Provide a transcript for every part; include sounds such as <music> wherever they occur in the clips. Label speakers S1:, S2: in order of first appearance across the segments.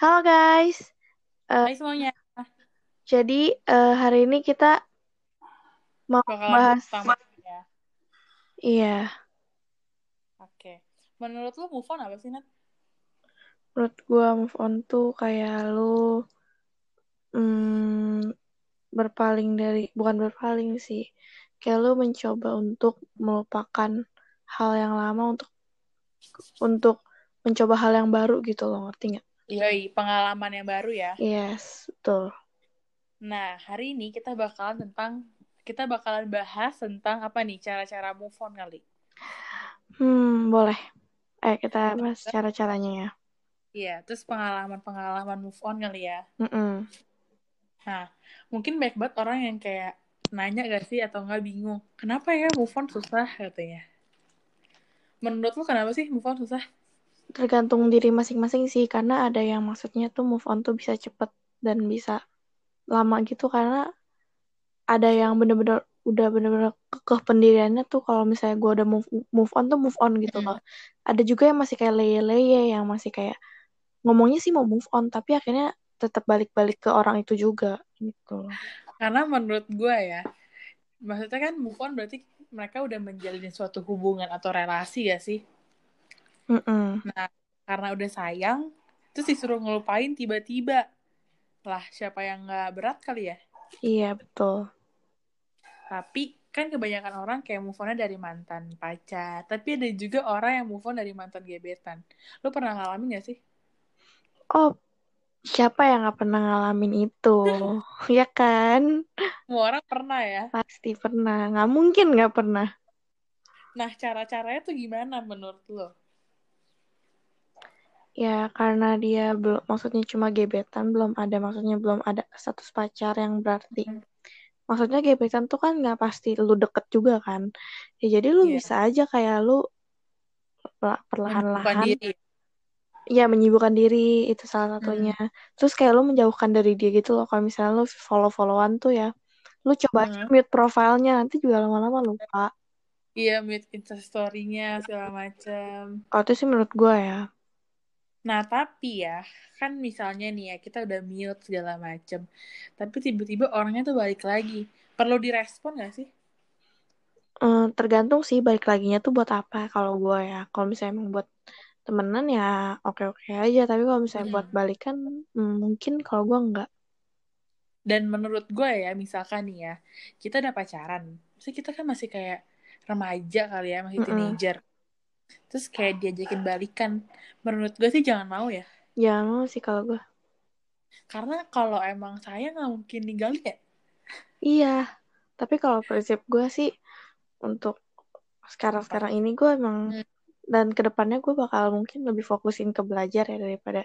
S1: Halo guys, Eh,
S2: Hai semuanya,
S1: jadi eh, hari ini kita mau
S2: bakalan
S1: bahas,
S2: move on ya.
S1: iya,
S2: Oke. Menurut lu move on apa sih, Nat?
S1: menurut gua move on tuh kayak lu mm, berpaling dari, bukan berpaling sih, kayak lu mencoba untuk melupakan hal yang lama untuk untuk mencoba hal yang baru gitu loh, ngerti nggak?
S2: Yoi, Iya, pengalaman yang baru ya.
S1: Yes, betul.
S2: Nah, hari ini kita bakalan tentang kita bakalan bahas tentang apa nih cara-cara move on kali.
S1: Hmm, boleh. Ayo kita bahas
S2: Terus-
S1: cara-caranya ya.
S2: Iya, terus pengalaman-pengalaman move on kali ya.
S1: Mm-mm.
S2: Nah, mungkin banyak banget orang yang kayak nanya gak sih atau nggak bingung, kenapa ya move on susah katanya. Menurut lu kenapa sih move on susah?
S1: Tergantung diri masing-masing sih, karena ada yang maksudnya tuh move on tuh bisa cepet dan bisa lama gitu karena ada yang bener-bener udah bener-bener kekeh pendiriannya tuh kalau misalnya gue udah move, move on tuh move on gitu
S2: Mm-mm.
S1: loh ada juga yang masih kayak leye-leye yang masih kayak ngomongnya sih mau move on tapi akhirnya tetap balik-balik ke orang itu juga gitu loh
S2: Karena menurut gue ya, Maksudnya kan move on berarti mereka udah menjalin suatu hubungan atau relasi ya sih.
S1: Mm-mm.
S2: Nah, karena udah sayang, terus disuruh ngelupain tiba-tiba. Lah, siapa yang nggak berat kali ya?
S1: iya betul
S2: Tapi kan kebanyakan orang kayak move onnya dari mantan pacar. Tapi ada juga orang yang move on dari mantan gebetan. Lu pernah ngalamin gak sih?
S1: oh siapa yang gak pernah ngalamin itu <laughs> ya kan
S2: Semua orang pernah ya.
S1: pasti pernah nggak mungkin nggak pernah
S2: Nah, cara-caranya tuh gimana menurut lo?
S1: Ya, karena dia belum, maksudnya cuma gebetan, belum ada, maksudnya belum ada status pacar yang berarti.
S2: Hmm.
S1: Maksudnya gebetan tuh kan nggak pasti lu deket juga kan. Ya jadi lu
S2: Iya,
S1: bisa aja kayak lu perla-
S2: menyibukkan
S1: perlahan-lahan,
S2: diri.
S1: ya menyibukkan diri itu salah
S2: Hmm.
S1: satunya. Terus kayak lu menjauhkan dari dia gitu loh. Kalau misalnya lu follow-followan tuh ya, lu coba aja
S2: Hmm.
S1: mute profilnya, nanti juga lama-lama lupa.
S2: Iya, mute instastory-nya segala macam.
S1: Kalau itu sih menurut gua ya.
S2: Nah, tapi ya, kan misalnya nih ya, kita udah mute segala macem. Tapi tiba-tiba orangnya tuh balik lagi. Perlu direspon gak sih?
S1: Eh, tergantung sih balik laginya tuh buat apa kalau gua ya. Kalau misalnya emang buat temenan ya oke-oke aja tapi kalau misalnya
S2: Mm-mm.
S1: buat balikan mm, mungkin kalau gua enggak
S2: Dan menurut gue ya, misalkan nih ya, kita udah pacaran. Terus kita kan masih kayak remaja kali ya, masih
S1: Mm-mm.
S2: teenager. Terus kayak diajakin balikan. Menurut gue sih jangan mau ya.
S1: jangan mau sih kalau gua
S2: Karena kalau emang saya nggak mungkin ninggalin ya.
S1: iya tapi kalau prinsip gua sih untuk
S2: Apa?
S1: sekarang-sekarang ini gua emang
S2: Hmm.
S1: dan kedepannya gua bakal mungkin lebih fokusin ke belajar ya daripada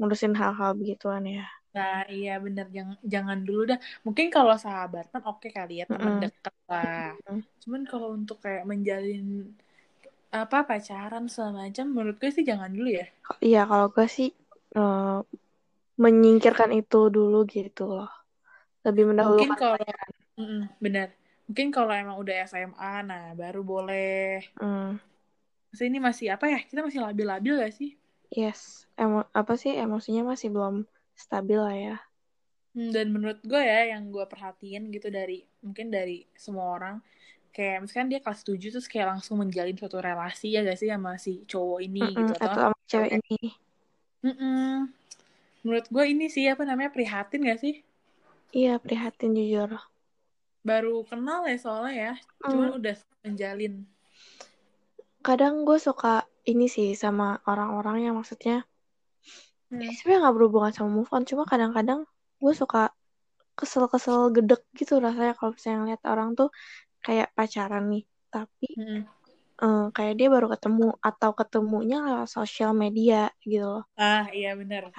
S1: ngurusin hal-hal begituan ya
S2: Nah, iya bener. Jangan, jangan dulu dah. Mungkin kalau sahabatan oke kali ya,
S1: Mm-mm.
S2: teman deket lah. Cuman kalau untuk kayak menjalin apa pacaran segala macam, menurut gue sih jangan dulu ya.
S1: Ko- iya kalau gua sih eh, menyingkirkan itu dulu gitu loh lebih
S2: Mungkin
S1: mendahulukan
S2: kalau
S1: belajar
S2: Mm-mm, bener. Mungkin kalau emang udah SMA, nah baru boleh.
S1: Mm.
S2: Maksudnya ini masih apa ya? Kita masih labil-labil gak sih?
S1: yes emo apa sih emosinya masih belum stabil lah ya
S2: Hmm, Dan menurut gue ya, yang gue perhatiin gitu dari mungkin dari semua orang, kayak misalkan dia kelas 7 terus kayak langsung menjalin suatu relasi ya gak sih sama si cowok ini
S1: Mm-mm,
S2: gitu atau
S1: atau
S2: sama
S1: sama cewek
S2: cewek.
S1: ini.
S2: Mm-mm. Menurut gue ini sih apa namanya prihatin gak sih?
S1: Iya, prihatin jujur.
S2: Baru kenal ya soalnya ya, cuman
S1: Mm,
S2: udah menjalin.
S1: Kadang gue suka ini sih sama orang-orang yang maksudnya ini
S2: Hmm.
S1: sebenarnya nggak berhubungan sama move on, cuma kadang-kadang gue suka kesel-kesel gedek gitu rasanya kalau misalnya ngeliat orang tuh kayak pacaran nih, tapi
S2: Mm-mm.
S1: eh, kayak dia baru ketemu atau ketemunya lewat sosial media gitu loh.
S2: Ah iya bener.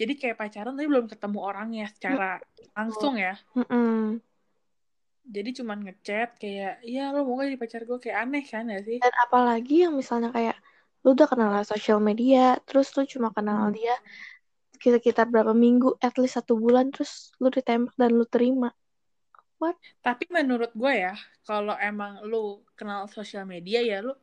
S2: Jadi kayak pacaran tapi belum ketemu orangnya
S1: Mm,
S2: secara langsung ya.
S1: mm-mm.
S2: Jadi cuman ngechat kayak, ya lo mau gak jadi pacar gue? Kayak aneh kan ya sih?
S1: Dan apalagi yang misalnya kayak lu udah kenal lewat sosial media, terus lu cuma kenal
S2: Hmm.
S1: dia sekitar berapa minggu, at least satu bulan, terus lu ditembak dan lu terima. What?
S2: Tapi menurut gue ya, kalau emang lu kenal sosial media ya lu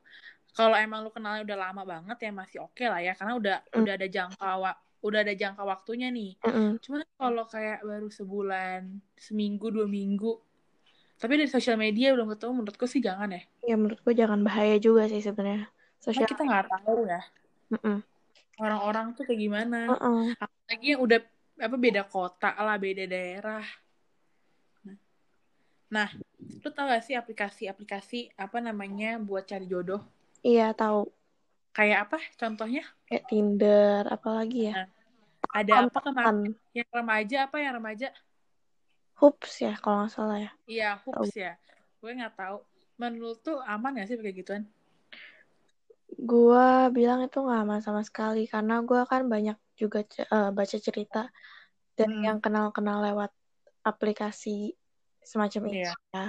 S2: kalau emang lu kenalnya udah lama banget ya masih oke lah ya karena udah
S1: Mm.
S2: udah ada jangka wa- udah ada jangka waktunya nih
S1: Mm-mm.
S2: cuman kalau kayak baru sebulan seminggu dua minggu tapi dari sosial media belum ketemu menurutku sih jangan ya
S1: ya menurut gue jangan bahaya juga sih sebenarnya
S2: karena
S1: sosial
S2: kita nggak tahu ya
S1: Mm-mm.
S2: orang-orang tuh kayak gimana
S1: Mm-mm.
S2: apalagi yang udah apa beda kota lah beda daerah nah lu tau gak sih aplikasi-aplikasi apa namanya buat cari jodoh
S1: iya tahu
S2: kayak apa contohnya
S1: kayak Tinder apalagi ya
S2: ada apa kemarin
S1: kan
S2: yang remaja apa yang remaja
S1: hoops ya kalau nggak salah ya
S2: iya hoops ya gue nggak tahu menurut tuh aman gak sih kayak gituan
S1: gua bilang itu nggak aman sama sekali karena gua kan banyak juga ce- eh, baca cerita dari
S2: Hmm.
S1: yang kenal-kenal lewat aplikasi semacam itu
S2: Iya.
S1: ya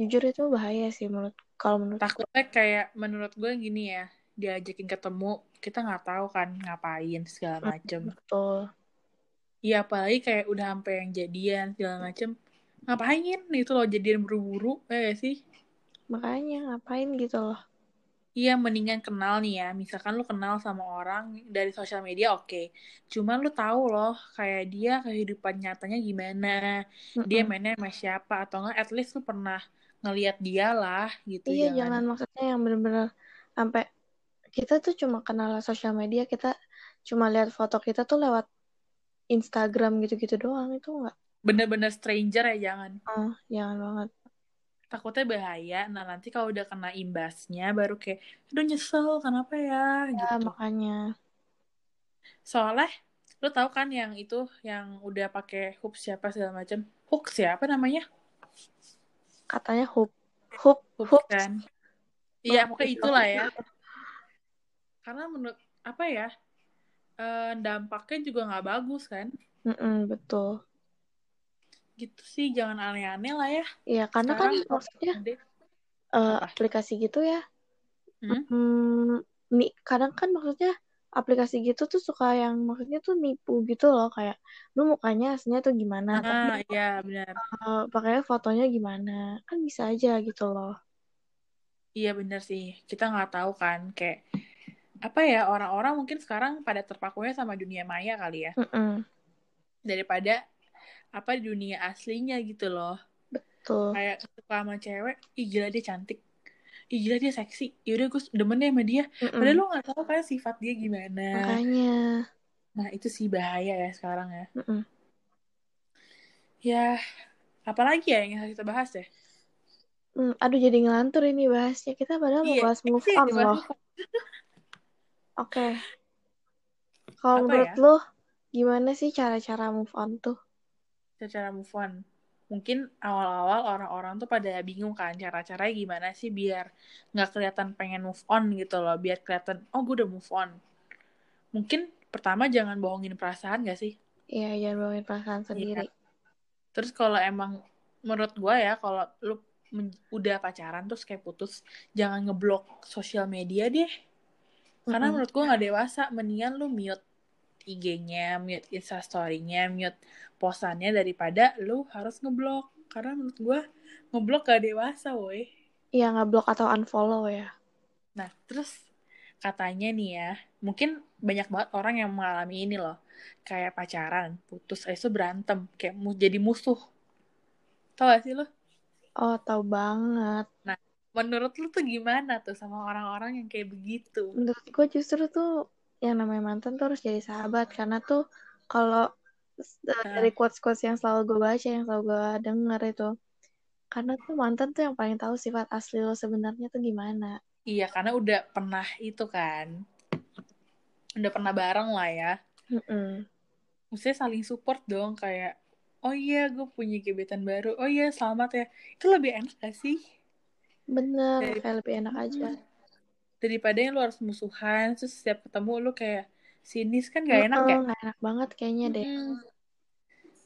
S1: jujur itu bahaya sih menurut kalau menurut gua
S2: takutnya kayak menurut gue gini ya diajakin ketemu kita nggak tahu kan ngapain segala macem
S1: betul
S2: iya apalagi kayak udah sampai yang jadian segala macem ngapain itu loh jadian buru-buru ya gak sih
S1: makanya ngapain gitu loh
S2: Iya, mendingan kenal nih ya. Misalkan lu kenal sama orang dari sosial media, oke. Cuman lu tahu loh, kayak dia kehidupan nyatanya gimana, dia
S1: Mm-mm.
S2: mainnya sama siapa, atau enggak, at least lu pernah ngeliat dia lah, gitu.
S1: iya
S2: Jangan,
S1: jangan maksudnya yang bener-bener sampai kita tuh cuma kenal lewat sosial media kita cuma lihat foto kita tuh lewat Instagram gitu-gitu doang itu nggak
S2: bener-bener stranger ya, jangan.
S1: ah jangan banget
S2: Takutnya bahaya, nah nanti kalau udah kena imbasnya, baru kayak, aduh nyesel, kenapa ya,
S1: ya
S2: gitu.
S1: makanya
S2: Soalnya, lu tahu kan yang itu, yang udah pakai hook siapa segala macam. Hook siapa namanya?
S1: katanya hoop hoop
S2: Hook
S1: hoops
S2: kan? Iya, pokoknya itulah ya. karena menurut apa ya eh, dampaknya juga nggak bagus kan
S1: Mm-mm, betul
S2: gitu sih jangan aneh-aneh lah ya
S1: ya karena kan
S2: sekarang
S1: maksudnya
S2: update
S1: eh,
S2: apa
S1: aplikasi gitu ya
S2: hmm?
S1: mm, nih kadang kan maksudnya aplikasi gitu tuh suka yang maksudnya tuh nipu gitu loh kayak lu mukanya aslinya tuh gimana tapi
S2: ah ya benar
S1: eh, pakainya fotonya gimana kan bisa aja gitu loh
S2: iya benar sih kita nggak tahu kan kayak apa ya orang-orang mungkin sekarang pada terpakunya sama dunia maya kali ya
S1: Mm-mm,
S2: daripada apa dunia aslinya gitu loh
S1: betul
S2: kayak suka sama cewek ih gila dia cantik ih gila dia seksi yaudah gue demen deh sama dia
S1: Mm-mm,
S2: padahal lo nggak tahu kan sifat dia gimana
S1: Hmm. makanya
S2: nah itu sih bahaya ya sekarang ya
S1: Mm-mm.
S2: ya Apalagi ya yang harus kita bahas ya?
S1: Mm, aduh jadi ngelantur ini bahasnya kita padahal mau
S2: Iya,
S1: bahas move
S2: itu yang
S1: on loh
S2: dibahas
S1: oke kalau
S2: apa
S1: menurut
S2: ya?
S1: lo gimana sih cara-cara move on tuh
S2: Cara move on. Mungkin awal-awal orang-orang tuh pada bingung kan cara-caranya gimana sih biar nggak kelihatan pengen move on gitu loh, biar kelihatan oh gue udah move on. Mungkin pertama jangan bohongin perasaan gak sih?
S1: Iya, jangan bawain perasaan
S2: Iya.
S1: sendiri.
S2: Terus kalau emang menurut gue ya kalau lu men- udah pacaran terus kayak putus, jangan ngeblok sosial media deh. Karena
S1: Mm-mm.
S2: menurut gue nggak dewasa, mendingan lu mute IG-nya, mute Instastory-nya, mute posannya daripada lu harus ngeblok. Karena menurut gua ngeblok gak dewasa, woi.
S1: Iya, ngeblok atau unfollow ya.
S2: Nah, terus katanya nih ya, mungkin banyak banget orang yang mengalami ini loh. Kayak pacaran, putus, habis itu berantem. Kayak mu- jadi musuh. Tau gak sih lu?
S1: Oh, tahu banget.
S2: Nah, menurut lu tuh gimana tuh sama orang-orang yang kayak begitu?
S1: Menurut gue justru tuh yang namanya mantan tuh harus jadi sahabat karena tuh kalau s- e, dari
S2: Nah,
S1: quotes-quotes yang selalu gue baca, yang selalu gue denger itu, karena tuh mantan tuh yang paling tahu sifat asli lo sebenarnya tuh gimana.
S2: iya, karena udah pernah itu kan. Udah pernah bareng lah ya.
S1: Mm-mm.
S2: maksudnya saling support dong kayak oh iya gue punya gebetan baru oh iya selamat ya itu lebih enak gak sih
S1: Bener,
S2: Dari-
S1: kayak lebih enak aja.
S2: Hmm. daripada yang lu harus musuhan terus setiap ketemu lu kayak sinis kan gak enak
S1: Heeh,
S2: ya
S1: nggak enak banget kayaknya deh.
S2: Mm-mm.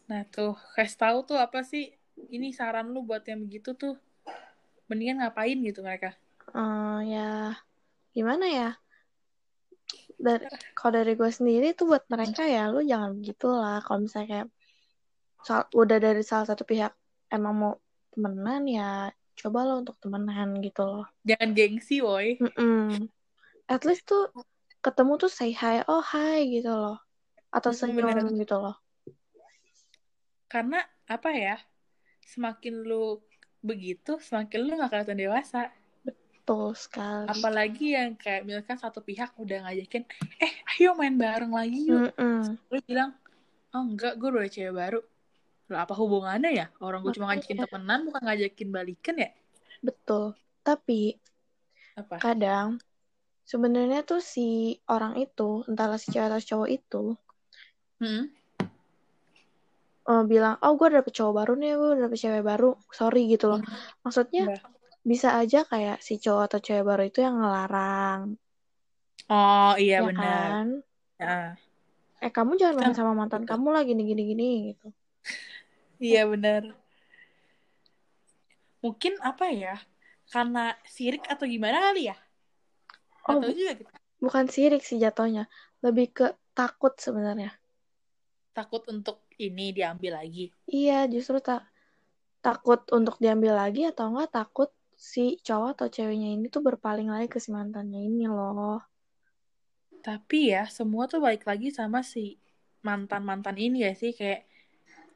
S2: nah tuh kasih tahu tuh apa sih ini saran lu buat yang begitu tuh mendingan ngapain gitu mereka
S1: Eh, ya, gimana ya? Dari, kalau dari gue sendiri tuh buat mereka ya, lu jangan begitulah. Kalau misalnya kayak soal- udah dari salah satu pihak emang mau temenan ya cobalah untuk temenan gitu loh
S2: Jangan gengsi, woi.
S1: Mm-mm. at least tuh ketemu tuh say hi oh hi gitu loh atau
S2: Mm,
S1: senyum
S2: bener.
S1: gitu loh
S2: Karena apa ya? Semakin lu begitu, semakin lu gak kelihatan dewasa.
S1: betul sekali
S2: Apalagi yang kayak misalkan satu pihak udah ngajakin, eh ayo main bareng lagi yuk.
S1: Mm-mm.
S2: Lu bilang, oh enggak, gue udah cewek baru. Lah apa hubungannya ya? Orang gue cuma ngajakin
S1: Makanya.
S2: temenan, bukan ngajakin balikan ya?
S1: betul tapi
S2: Apa?
S1: kadang sebenarnya tuh si orang itu entahlah si cewek atau si cowok itu
S2: Hmm?
S1: eh, bilang oh gue dapet cowok baru nih gue dapet cewek baru sorry gitu loh maksudnya
S2: Iya.
S1: bisa aja kayak si cowok atau cewek baru itu yang ngelarang
S2: Oh iya
S1: ya
S2: benar. Kan
S1: kan
S2: Ah.
S1: eh kamu jangan main
S2: Kita-
S1: sama mantan kamu lah gini gini gini gitu
S2: Iya benar. Mungkin apa ya? Karena sirik atau gimana kali ya? Gak
S1: oh
S2: tahu
S1: bu-
S2: juga kita
S1: bukan sirik sih jatuhnya lebih ke takut sebenarnya
S2: takut untuk ini diambil lagi.
S1: iya justru tak takut untuk diambil lagi atau enggak takut si cowok atau ceweknya ini tuh berpaling lagi ke si mantannya ini loh
S2: Tapi ya semua tuh balik lagi sama si mantan-mantan ini ya sih kayak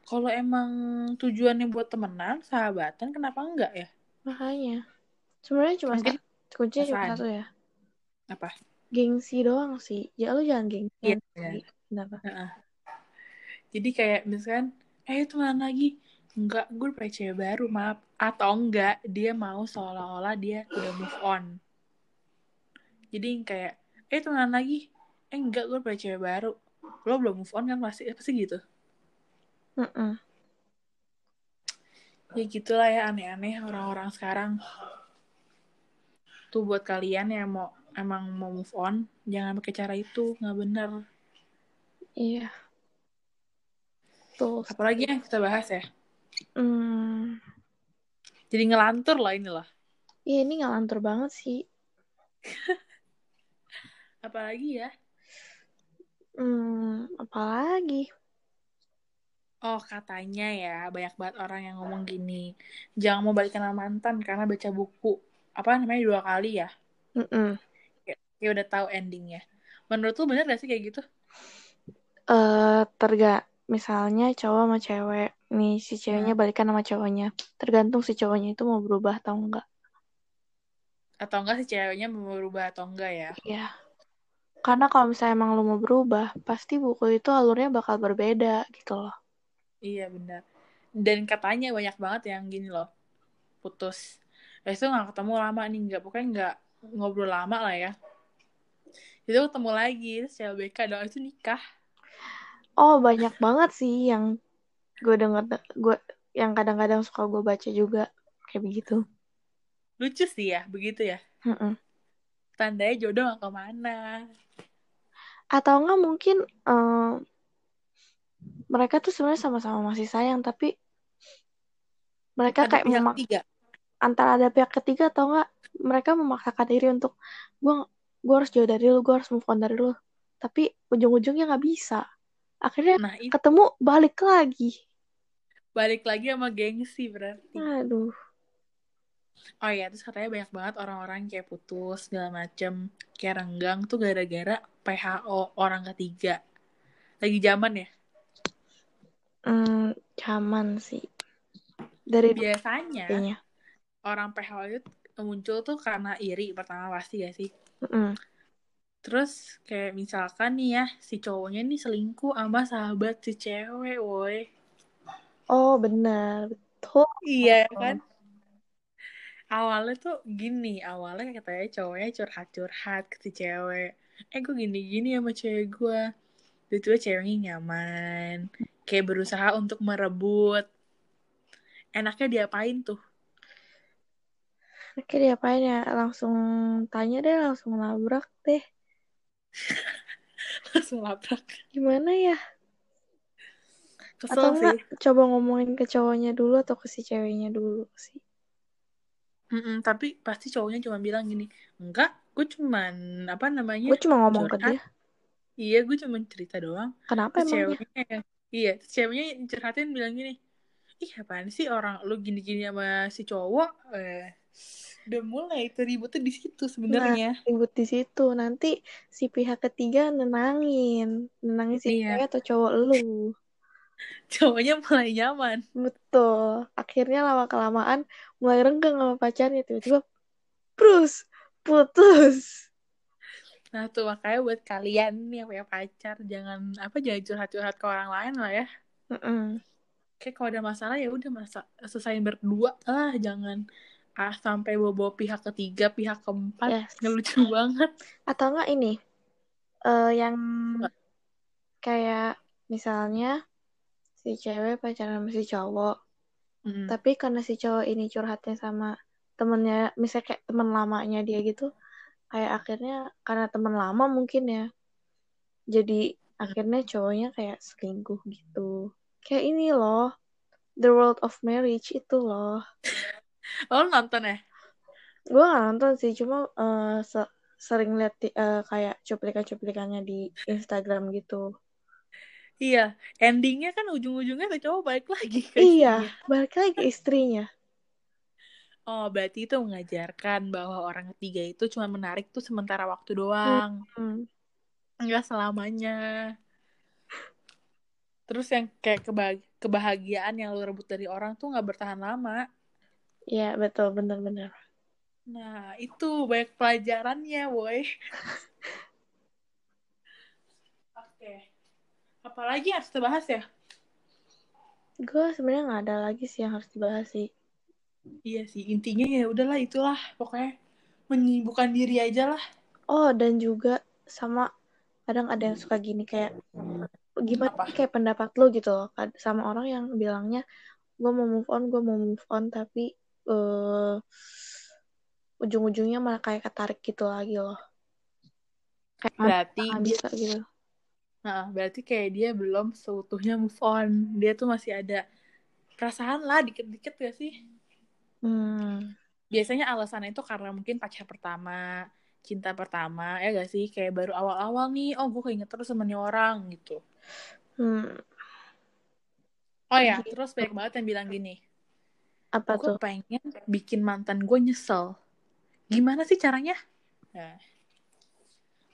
S2: kalau emang tujuannya buat temenan, sahabatan, kenapa enggak ya?
S1: makanya sebenarnya cuma
S2: Mungkin
S1: sa- kuncinya cuma
S2: perasaan
S1: satu ya
S2: apa?
S1: gengsi doang sih ya lu jangan
S2: Iya.
S1: gengsian sih kenapa
S2: Heeh. Jadi kayak misalkan, eh temenan lagi. Enggak, gue udah punya cewek baru, maaf. Atau enggak, dia mau seolah-olah dia udah move on. Jadi yang kayak, eh temenan lagi. Eh enggak, gue udah punya cewek baru. Lo belum move on kan pasti, pasti gitu.
S1: Mm-mm.
S2: Ya gitulah ya aneh-aneh orang-orang sekarang. Tuh buat kalian yang mau emang mau move on, jangan pakai cara itu, nggak bener.
S1: iya betul
S2: Apalagi yang kita bahas ya.
S1: Hmm,
S2: Jadi ngelantur lah inilah.
S1: ya ini ngelantur banget sih.
S2: Apalagi ya,
S1: Hmm, apalagi?
S2: oh katanya ya banyak banget orang yang ngomong gini, jangan mau balikan sama mantan karena baca buku apa namanya dua kali ya,
S1: Mm-mm.
S2: kayak, kayak udah tahu endingnya. Menurut lu bener gak sih kayak gitu?
S1: Eh, terga, misalnya cowok sama cewek, nih si ceweknya
S2: Hmm.
S1: balikan sama cowoknya. Tergantung si cowoknya itu mau berubah atau enggak.
S2: Atau enggak sih ceweknya mau berubah atau enggak ya?
S1: Iya, karena kalau misalnya emang lu mau berubah, pasti buku itu alurnya bakal berbeda gitu loh.
S2: Iya bener. Dan katanya banyak banget yang gini loh, putus. Habis itu nggak ketemu lama nih, nggak pokoknya nggak ngobrol lama lah ya. Itu ketemu lagi, terus CLBK doang itu nikah.
S1: Oh, banyak banget sih yang gue denger, gue yang kadang-kadang suka gue baca juga kayak begitu.
S2: Lucu sih ya, begitu ya.
S1: Mm-mm.
S2: Tandanya jodoh gak kemana.
S1: Atau enggak mungkin eh, mereka tuh sebenarnya sama-sama masih sayang, tapi mereka
S2: Ada
S1: kayak
S2: pihak
S1: memak
S2: ketiga.
S1: antara ada pihak ketiga atau enggak mereka memaksakan diri untuk gue gue harus jauh dari lu gue harus move on dari lu tapi ujung-ujungnya nggak bisa akhirnya
S2: Nah, itu
S1: ketemu balik lagi
S2: balik lagi sama gengsi berarti.
S1: aduh
S2: Oh iya, terus katanya banyak banget orang-orang yang kayak putus, segala macem. Kayak renggang tuh gara-gara PHO, orang ketiga. Lagi zaman ya.
S1: hmm, zaman sih dari
S2: Iya.
S1: dulu
S2: Biasanya,
S1: kayaknya
S2: orang PHO itu muncul tuh karena iri pertama pasti gak sih?
S1: Mm-mm.
S2: Terus kayak misalkan nih ya, si cowoknya nih selingkuh sama sahabat si cewek, woi.
S1: oh benar betul
S2: Iya kan? awalnya tuh gini awalnya kayak katanya cowoknya curhat-curhat ke si cewek eh gue gini-gini sama cewek gue tiba ceweknya nyaman kayak berusaha untuk merebut enaknya diapain tuh <laughs>
S1: oke dia apain ya langsung tanya deh langsung labrak deh
S2: langsung labrak
S1: gimana ya atau
S2: kesel
S1: enggak
S2: sih
S1: coba ngomongin ke cowoknya dulu atau ke si ceweknya dulu sih
S2: Mm-mm, tapi pasti cowoknya cuma bilang gini enggak gue cuman apa namanya
S1: gue cuma ngomong ke
S2: curhat
S1: dia
S2: iya gue cuman cerita doang
S1: kenapa
S2: terus
S1: emangnya
S2: ceweknya iya terus ceweknya yang curhatin bilang gini ih apaan sih orang lu gini-gini sama si cowok eh, udah mulai itu ributnya di situ sebenarnya
S1: ribut di situ nanti si pihak ketiga nenangin nenangin si
S2: Iya.
S1: cewek atau cowok lu
S2: <laughs> cowoknya mulai nyaman
S1: betul akhirnya lama kelamaan mulai renggang sama pacarnya tiba-tiba terus putus
S2: nah tuh makanya buat kalian nih yang punya pacar jangan apa jangan curhat-curhat ke orang lain lah ya
S1: Mm-mm.
S2: kayak kalau ada masalah ya udah masa selesaiin berdua lah jangan ah sampai bawa-bawa pihak ketiga pihak keempat
S1: Yes.
S2: ngelucu banget
S1: atau enggak ini eh, yang kayak misalnya si cewek pacaran sama si cowok
S2: Mm.
S1: tapi karena si cowok ini curhatnya sama temennya misalnya kayak teman lamanya dia gitu kayak akhirnya karena teman lama mungkin ya jadi akhirnya cowoknya kayak selingkuh gitu kayak ini loh The World of Marriage itu loh
S2: oh lu nonton ya
S1: gue gak nonton sih cuma eh, se- sering lihat di- eh, kayak cuplikan-cuplikannya di Instagram gitu
S2: iya endingnya kan ujung-ujungnya tuh cowok balik lagi ke
S1: iya
S2: istrinya.
S1: balik lagi ke istrinya
S2: oh berarti itu mengajarkan bahwa orang ketiga itu cuma menarik tuh sementara waktu doang
S1: Hmm.
S2: enggak selamanya terus yang kayak kebah- kebahagiaan yang lu rebut dari orang tuh nggak bertahan lama
S1: Iya betul bener-bener
S2: nah itu banyak pelajarannya boy <laughs> oke apalagi yang harus kita bahas ya
S1: gue sebenarnya nggak ada lagi sih yang harus dibahas sih
S2: Iya sih, intinya ya udahlah itulah pokoknya menyibukkan diri aja lah.
S1: Oh, dan juga sama kadang ada yang suka gini kayak gimana
S2: Apa?
S1: sih kayak pendapat lo gitu loh Kad- sama orang yang bilangnya gue mau move on, gue mau move on tapi eh ujung-ujungnya malah kayak ketarik gitu lagi loh. Kayak nggak
S2: Berarti
S1: nggak
S2: dia, <laughs>
S1: bisa gitu.
S2: nah, berarti kayak dia belum seutuhnya move on. Dia tuh masih ada perasaan lah dikit-dikit gak sih?
S1: Hmm,
S2: Biasanya alasannya itu karena mungkin pacar pertama, cinta pertama, ya gak sih? Kayak baru awal-awal nih, oh gue keinget terus sama nih orang gitu.
S1: hmm,
S2: Oh ya,
S1: Gitu.
S2: terus banyak banget yang bilang gini,
S1: apa
S2: gue
S1: tuh?
S2: pengen bikin mantan gue nyesel. Gimana sih caranya? Nah,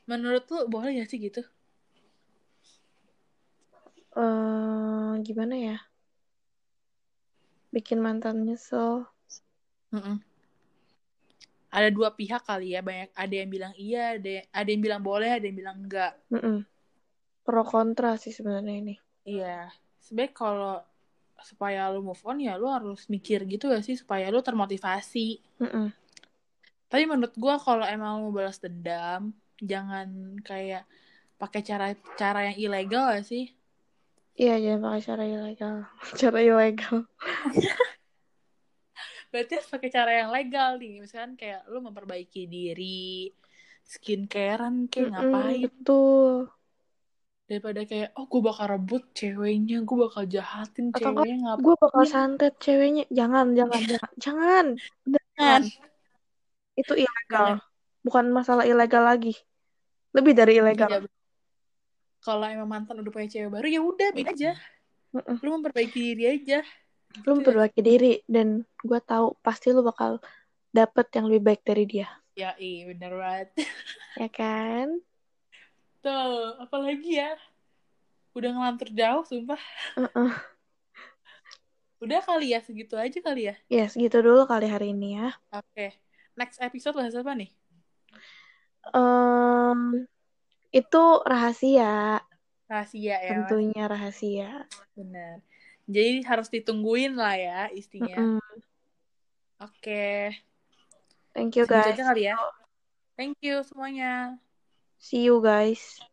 S2: menurut lu boleh gak sih gitu?
S1: eh gimana ya? Bikin mantan nyesel.
S2: Mm-mm. ada dua pihak kali ya banyak ada yang bilang iya ada ada yang bilang boleh ada yang bilang enggak
S1: Mm-mm. Pro kontra sih sebenarnya ini.
S2: iya sebaik kalau supaya lu move on ya lu harus mikir gitu ya sih supaya lu termotivasi
S1: Mm-mm.
S2: tapi menurut gua kalau emang lu mau balas dendam jangan kayak pakai cara cara yang ilegal gak sih
S1: Iya, jangan pakai cara ilegal. <laughs> Cara ilegal.
S2: berarti harus pakai cara yang legal nih misalkan kayak lu memperbaiki diri skincarean kayak
S1: Mm-mm,
S2: ngapain
S1: betul.
S2: daripada kayak oh gua bakal rebut ceweknya gua bakal jahatin
S1: Atau enggak
S2: ceweknya
S1: gue bakal
S2: ngapain
S1: santet ceweknya. Jangan, jangan,
S2: Iya.
S1: jangan. Jangan. Udah, jangan. Itu ilegal.
S2: Jangan.
S1: Bukan masalah ilegal lagi. Lebih dari ilegal.
S2: Iya, kalau emang mantan udah punya cewek baru ya udah biar aja.
S1: Mm-mm.
S2: Lu memperbaiki diri aja.
S1: Lu
S2: Gitu ya.
S1: memperbaiki diri. Dan gue tahu pasti lu bakal dapet yang lebih baik dari dia.
S2: Ya, iya bener banget. <laughs>
S1: Ya kan?
S2: Tuh, apalagi ya. Udah ngelantur jauh, sumpah.
S1: Mm-mm.
S2: Udah kali ya, segitu aja kali ya.
S1: Ya, segitu dulu kali hari ini ya.
S2: Oke. Next episode bahas apa nih?
S1: Em, itu rahasia.
S2: Rahasia ya, Mas.
S1: Tentunya rahasia.
S2: Bener. Jadi harus ditungguin lah ya istinya.
S1: Mm-mm.
S2: Oke.
S1: Thank you
S2: Segitu
S1: guys.
S2: aja kali ya. Thank you semuanya.
S1: See you guys.